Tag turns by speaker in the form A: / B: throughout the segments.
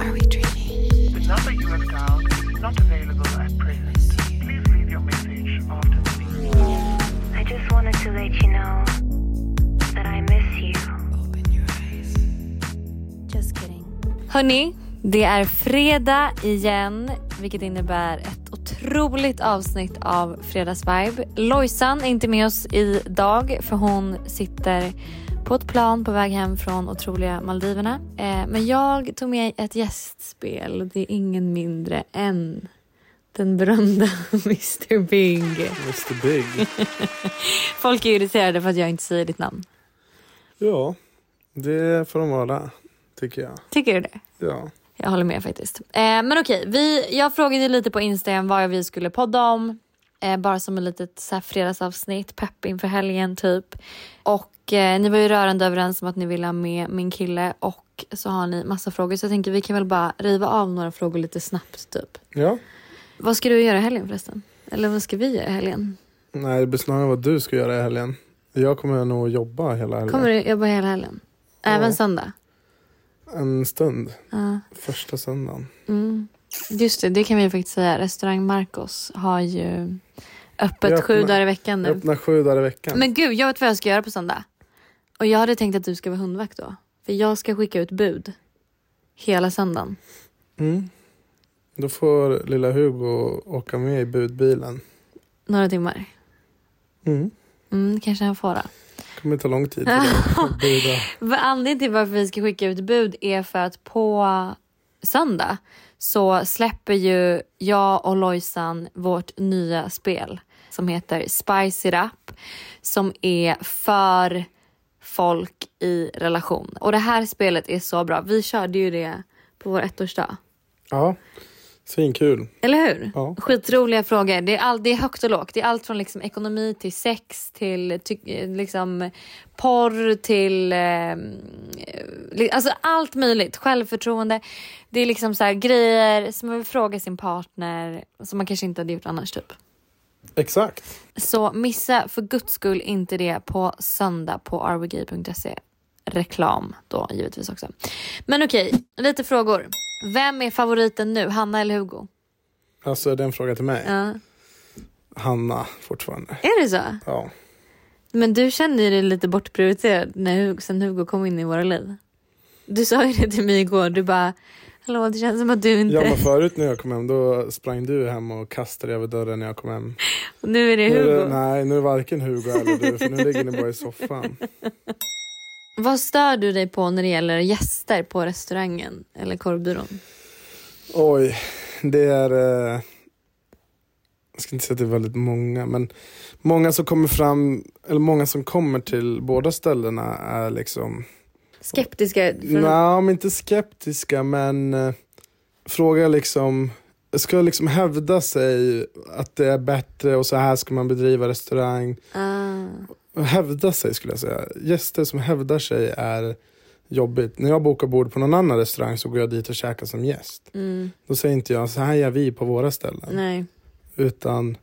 A: Are we dreaming?
B: The number you have dialed is not available at present. Please leave your message after the beep.
C: I just wanted to let you know that I miss you.
A: Open your eyes.
C: Just kidding.
D: Hörni, det är fredag igen vilket innebär ett otroligt avsnitt av Fredagsvibe. Lojsan är inte med oss idag för hon sitter på ett plan på väg hem från otroliga Maldiverna. Eh, men jag tog med ett gästspel och det är ingen mindre än den berömda Mr Big.
E: Mr Big.
D: Folk är irriterade för att jag inte säger ditt namn.
E: Ja, det får de vara, tycker jag.
D: Tycker du det?
E: Ja.
D: Jag håller med faktiskt. Eh, men okej, vi, jag frågade lite på Instagram vad vi skulle podda om. Eh, bara som ett litet så här, fredagsavsnitt, pepp inför helgen typ. Och eh, ni var ju rörande överens om att ni ville ha med min kille och så har ni massa frågor. Så jag tänker vi kan väl bara riva av några frågor lite snabbt typ.
E: Ja.
D: Vad ska du göra i helgen förresten? Eller vad ska vi göra i helgen?
E: Nej, det blir snarare vad du ska göra i helgen. Jag kommer nog jobba hela helgen.
D: Kommer du jobba hela helgen? Även
E: Ja.
D: söndag?
E: En stund.
D: Ja.
E: Första söndagen.
D: Mm. Just det, det kan vi ju faktiskt säga. Restaurang Marcos har ju öppet
E: Jag
D: sju
E: öppnar-
D: dagar i veckan
E: Jag
D: nu.
E: öppnar sju dagar i veckan.
D: Men gud, jag vet vad jag ska göra på söndag. Och jag hade tänkt att du ska vara hundvakt då. För jag ska skicka ut bud. Hela söndagen.
E: Mm. Då får lilla Hugo åka med i budbilen.
D: Några timmar.
E: Mm.
D: Mm, kanske han får då.
E: kommer ta lång tid. för det. Att buda.
D: Va- Anledningen till varför vi ska skicka ut bud är för att på söndag så släpper ju jag och Lojsan vårt nya spel som heter Spicy Rap som är för folk i relation. Och det här spelet är så bra. Vi körde ju det på vår ettårsdag.
E: Ja, svinkul.
D: Eller hur?
E: Ja.
D: Skitroliga frågor. Det är, all, det är högt och lågt. Det är allt från liksom ekonomi till sex till ty, eh, liksom porr till eh, li- alltså allt möjligt. Självförtroende. Det är liksom så här grejer som man vill fråga sin partner som man kanske inte hade gjort annars. typ.
E: Exakt.
D: Så missa för guds skull inte det på söndag på rwg.se. E. Reklam då givetvis också. Men okej, lite frågor. Vem är favoriten nu? Hanna eller Hugo?
E: Alltså, är det en fråga till mig?
D: Ja.
E: Hanna, fortfarande.
D: Är det så?
E: Ja.
D: Men du känner ju dig lite bortprioriterad när Hugo, sen Hugo kom in i våra liv. Du sa ju det till mig igår. Du bara, hallå det känns som att du inte...
E: Ja, men förut när jag kom hem, då sprang du hem och kastade över dörren när jag kom hem.
D: Nu är det
E: Nu är det-
D: Hugo.
E: nej, nu är det varken Hugo eller du, för nu ligger ni bara i soffan.
D: Vad stör du dig på när det gäller gäster på restaurangen eller korvbyrån?
E: Oj, det är... Eh, jag ska inte säga att det är väldigt många, men många som kommer fram, eller många som kommer till båda ställena är liksom...
D: Skeptiska?
E: Nej, men inte skeptiska, men eh, frågar liksom... Ska liksom hävda sig att det är bättre och så här ska man bedriva restaurang.
D: Ah,
E: Hävda sig skulle jag säga. Gäster som hävdar sig är jobbigt. När jag bokar bord på någon annan restaurang så går jag dit och käkar som gäst.
D: mm,
E: Då säger inte jag så här gör vi på våra ställen.
D: nej.
E: Utan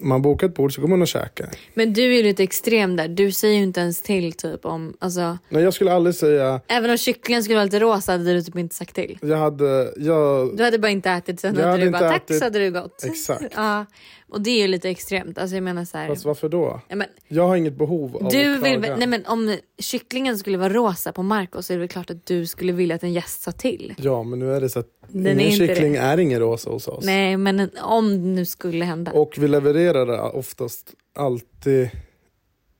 E: man bokar ett bord så går man och käkar.
D: Men du är ju lite extrem där. Du säger ju inte ens till typ om... Alltså,
E: Nej, jag skulle aldrig säga,
D: även om kycklingen skulle vara lite rosa hade du typ inte sagt till.
E: jag hade, jag,
D: Du hade bara inte ätit sen
E: Jag
D: hade
E: hade
D: du
E: inte
D: bara tack
E: ätit-
D: så hade du gått.
E: exakt.
D: Ja, och det är ju lite extremt. Alltså jag menar så här.
E: Fast varför då?
D: ja, men,
E: Jag har inget behov av
D: du
E: att
D: vill,
E: klaga.
D: nej, men om kycklingen skulle vara rosa på Marcos så är det väl klart att du skulle vilja att en gäst sa till.
E: Ja, men nu är det så att
D: Den är
E: ingen
D: inte
E: kyckling
D: det.
E: är ingen rosa hos oss.
D: Nej, men en- om det nu skulle hända.
E: Och vi levererar det oftast alltid,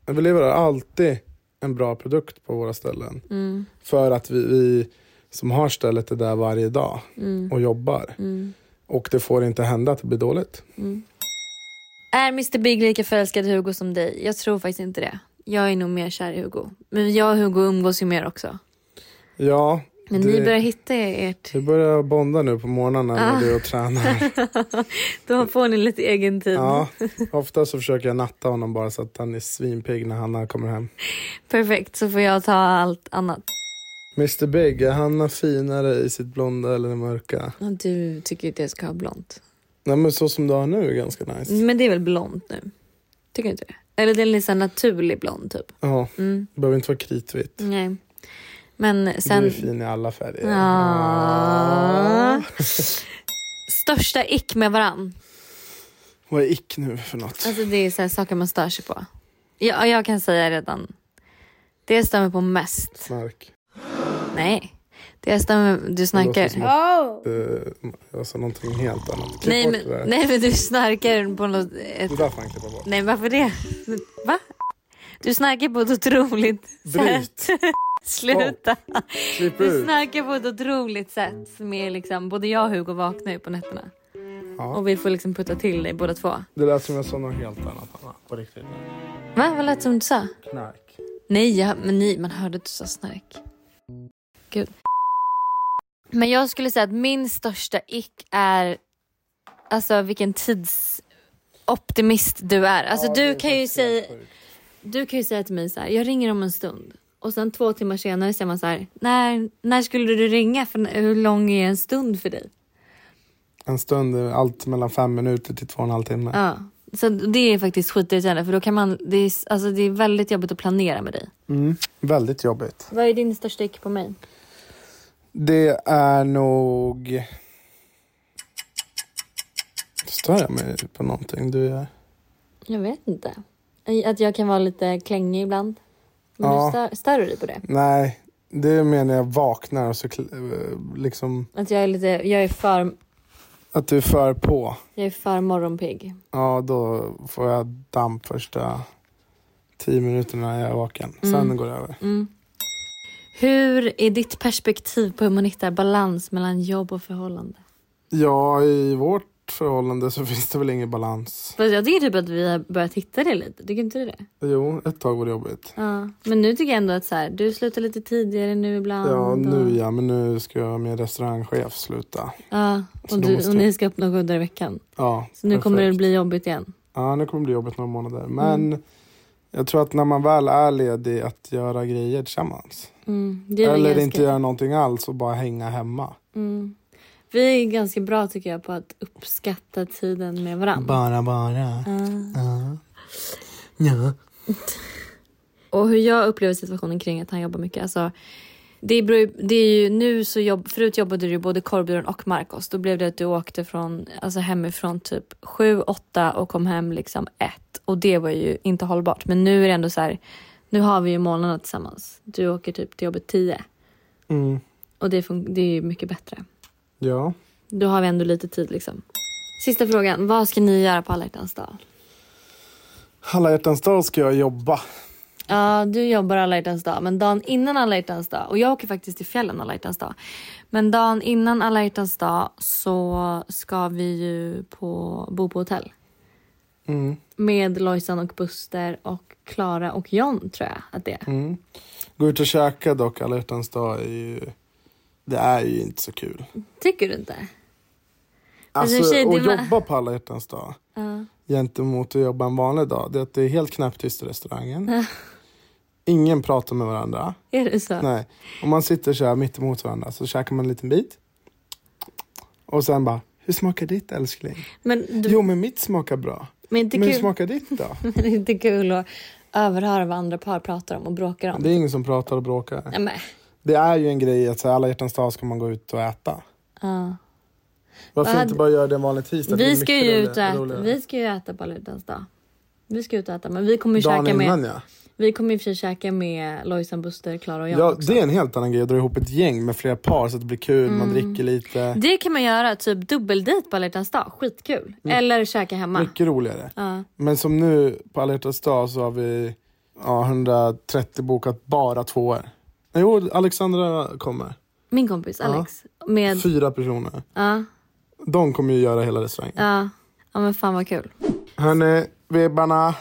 E: vi levererar alltid en bra produkt på våra ställen.
D: Mm,
E: För att vi, vi som har stället är där varje dag
D: mm,
E: och jobbar.
D: mm,
E: Och det får inte hända att det blir dåligt.
D: mm. Är Mr Big lika förälskad i Hugo som dig? Jag tror faktiskt inte det. Jag är nog mer kär i Hugo. Men jag och Hugo umgås ju mer också.
E: Ja,
D: Men
E: Det-
D: ni börjar hitta ert...
E: Vi börjar bonda nu på morgnarna
D: Ah.
E: när du är och tränar.
D: Då får ni lite egen tid.
E: Ja, ofta så försöker jag natta honom bara så att han är svinpigg när Hanna kommer hem.
D: Perfekt, så får jag ta allt annat.
E: Mr Big, är Hanna finare i sitt blonda eller det mörka?
D: Ja, Du tycker ju att jag ska ha blont.
E: Nej men så som du har nu är ganska nice.
D: Men det är väl blont nu? Tycker du inte det? Eller det är en lite naturlig blond typ.
E: Ja,
D: Mm.
E: behöver inte vara kritvitt.
D: Nej. Men
E: Du är
D: sen...
E: fin i alla färger. Ah.
D: Ja. Största ick med varann.
E: Vad är ick nu för något?
D: Alltså det är så här saker man stör sig på. Ja, jag kan säga redan. Det jag stör mig på mest.
E: Snark.
D: Nej. Det jag stör mig... Du
E: Det låter
D: snarkar.
E: som att, eh, Alltså någonting helt annat. Klipp
D: Nej
E: bort det där.
D: men, nej men du snarkar på något... Ett...
E: Det där får han klippa bort.
D: Nej varför det? Va? Du snarkar på ett otroligt
E: Bryt!
D: sätt. Sluta.
E: Klipp
D: Du
E: ut!
D: snarkar på ett otroligt sätt som är liksom, både jag och Hugo vaknar ju på nätterna.
E: Ja.
D: Och vi får liksom putta till dig båda två. Va?
E: Det lät som jag sa något helt annat Hanna. På riktigt.
D: Vad lät som du sa?
E: Knark.
D: Nej, jag, men nej, man hörde att du sa snark. Gud. Men jag skulle säga att min största ick är alltså vilken tidsoptimist du är. Alltså
E: Ja, det
D: du
E: är
D: kan ju
E: faktiskt helt
D: säga
E: sjukt.
D: du kan ju säga till mig så här, jag ringer om en stund. Och sen två timmar senare säger man så här, när, när skulle du ringa? För hur lång är en stund för dig?
E: En stund, är allt mellan fem minuter till två och en halv timme.
D: Ja. Så det är faktiskt skitirriterande för då kan man, det är, alltså, det är väldigt jobbigt att planera med dig.
E: Väldigt jobbigt.
D: Vad är din största ick på mig?
E: Det är nog... Stör jag mig på någonting du gör?
D: Jag vet inte. Att jag kan vara lite klängig ibland. Men
E: Ja.
D: du stör, stör du dig på det?
E: Nej, det menar jag vaknar och så kl- eh, liksom...
D: Att jag är lite, jag är för,
E: Att du är för på.
D: jag är för morgonpigg.
E: Ja, då får jag damp första tio minuterna jag är vaken.
D: Mm.
E: Sen går det över.
D: Hur är ditt perspektiv på hur man hittar balans mellan jobb och förhållande?
E: Ja, i vårt förhållande så finns det väl ingen balans.
D: Fast jag tycker typ att vi har börjat hitta det lite. Tycker inte du det?
E: Jo, ett tag var det jobbigt.
D: Ja. Men nu tycker jag ändå att så här, du slutar lite tidigare nu ibland.
E: Ja, nu
D: och,
E: ja, men nu ska jag med restaurangchef sluta.
D: ja.
E: Så
D: och,
E: då
D: du,
E: måste
D: och
E: jag-
D: ni ska upp några gånger i veckan.
E: Ja,
D: Så nu kommer det
E: perfekt.
D: bli Mm. jobbigt igen.
E: Ja, nu kommer det bli jobbigt några månader. Men jag tror att när man väl är ledig att göra grejer tillsammans.
D: Mm. Det är väl
E: Eller
D: ganska...
E: inte göra någonting alls och bara hänga hemma.
D: Mm. Vi är ganska bra tycker jag på att uppskatta tiden med varandra.
E: Bara, bara. Ja. Ja.
D: Och hur jag upplever situationen kring att han jobbar mycket. Alltså, det, beror, ju- det är ju nu så jobb, förut jobbade du ju både korvbyrån och Marcos. Då blev det att du åkte från, alltså hemifrån typ 7, 8 och kom hem liksom 1. Och det var ju inte hållbart. Men nu är det ändå så här, nu har vi ju månaderna tillsammans. Du åker typ till jobbet 10
E: Mm.
D: och det, fun- det är ju mycket bättre.
E: ja.
D: Då har vi ändå lite tid liksom. Sista frågan, vad ska ni göra på alla hjärtans dag?
E: Alla hjärtans dag ska jag jobba.
D: Ja, du jobbar alla hjärtans dag, men dagen innan alla hjärtans dag, och jag åker faktiskt till fjällen alla hjärtans dag. Men dagen innan alla hjärtans dag så ska vi ju på, bo på hotell.
E: Mm.
D: Med Lojsan och Buster och Klara och John tror jag att det är.
E: Mm. Gå ut och käka dock, alla hjärtans dag är ju... Det är ju inte så kul.
D: Tycker du inte? Alltså,
E: Alltså,
D: tjej, det
E: att
D: var-
E: jobba på alla hjärtans dag gentemot att jobba en vanlig dag, det är att det är helt knäpptyst i restaurangen. Ingen pratar med varandra.
D: Är det så?
E: Nej. Om man sitter så här mitt emot varandra så käkar man en liten bit. Och sen bara, hur smakar ditt älskling?
D: Men, du,
E: Jo men mitt smakar bra.
D: men inte
E: Men hur
D: kul,
E: smakar ditt då?
D: men inte kul att överhöra vad andra par pratar om och bråkar om.
E: Det är ingen som pratar och bråkar.
D: Nej, men,
E: Det är ju en grej att så här, alla hjärtans dag ska man gå ut och äta.
D: ja.
E: Varför
D: Vad
E: inte
D: hade-
E: bara göra det en vanlig tisdag? Det är
D: Vi ska,
E: mycket
D: ju ut och
E: roligare-
D: äta,
E: roligare.
D: vi ska ju äta på alla hjärtans dag. Vi ska ut och äta, men vi kommer ju
E: Dagen
D: käka med...
E: innan ja.
D: Vi kommer i och för sig käka med Lojsan, Buster, Klara och jag
E: Ja,
D: också.
E: det är en helt annan grej att dra ihop ett gäng med flera par så att det blir kul,
D: Mm.
E: man dricker lite.
D: Det kan man göra, typ dubbeldejt på alla hjärtans dag. Skitkul. Eller käka hemma.
E: Mm. Mycket roligare.
D: Ja.
E: Men som nu på alla hjärtans dag så har vi ja, 130 bokat bara tvåor. Nej, Jo, Alexandra kommer.
D: Min kompis Alex. Med...
E: Fyra personer.
D: Ja,
E: De kommer ju göra hela restaurangen.
D: ja. ja, men fan vad kul.
E: Hörni, Vibbarna.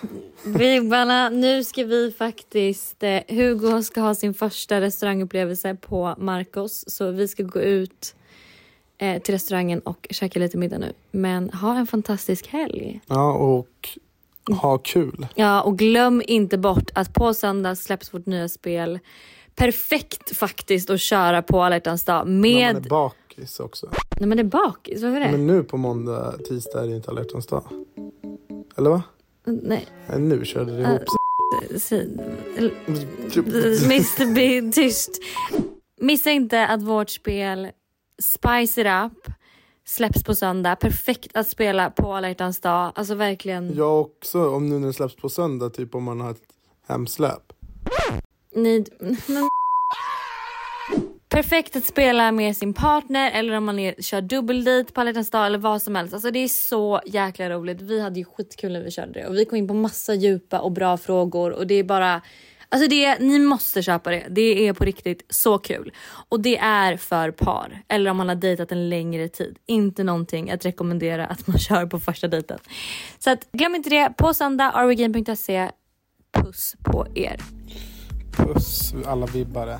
D: Vibbarna, nu ska vi faktiskt... Eh, Hugo ska ha sin första restaurangupplevelse på Marcos. Så vi ska gå ut eh, till restaurangen och käka lite middag nu. Men ha en fantastisk helg.
E: Ja, och ha kul.
D: Ja, och glöm inte bort att på söndag släpps vårt nya spel. Perfekt faktiskt att köra på alla hjärtans dag
E: När
D: med...
E: man är bakis också.
D: Nej men det är bakis, varför det?
E: Men nu på måndag, tisdag är det inte alla hjärtans dag. Eller va?
D: Nej,
E: Nej, nu körde det ihop
D: si- Äh.
E: sig.
D: Mr Big tyst. Missa inte att vårt spel Spice It Up släpps på söndag. Perfekt att spela på alla hjärtans dag. Alltså verkligen.
E: Jag också, om nu när det släpps på söndag, typ om man har ett hemsläp.
D: Ni... Men... Perfekt att spela med sin partner eller om man är, kör dubbeldejt på alla hjärtans dag eller vad som helst. Alltså det är så jäkla roligt. Vi hade ju skitkul när vi körde det och vi kom in på massa djupa och bra frågor och det är bara Alltså det, ni måste köpa det. Det är på riktigt så kul. Och det är för par. Eller om man har dejtat en längre tid. Inte någonting att rekommendera att man kör på första dejten. Så att, glöm inte det. På söndag, arwegame.se. Puss på er.
E: Puss alla vibbare.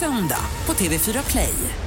F: söndag på TV4 Play.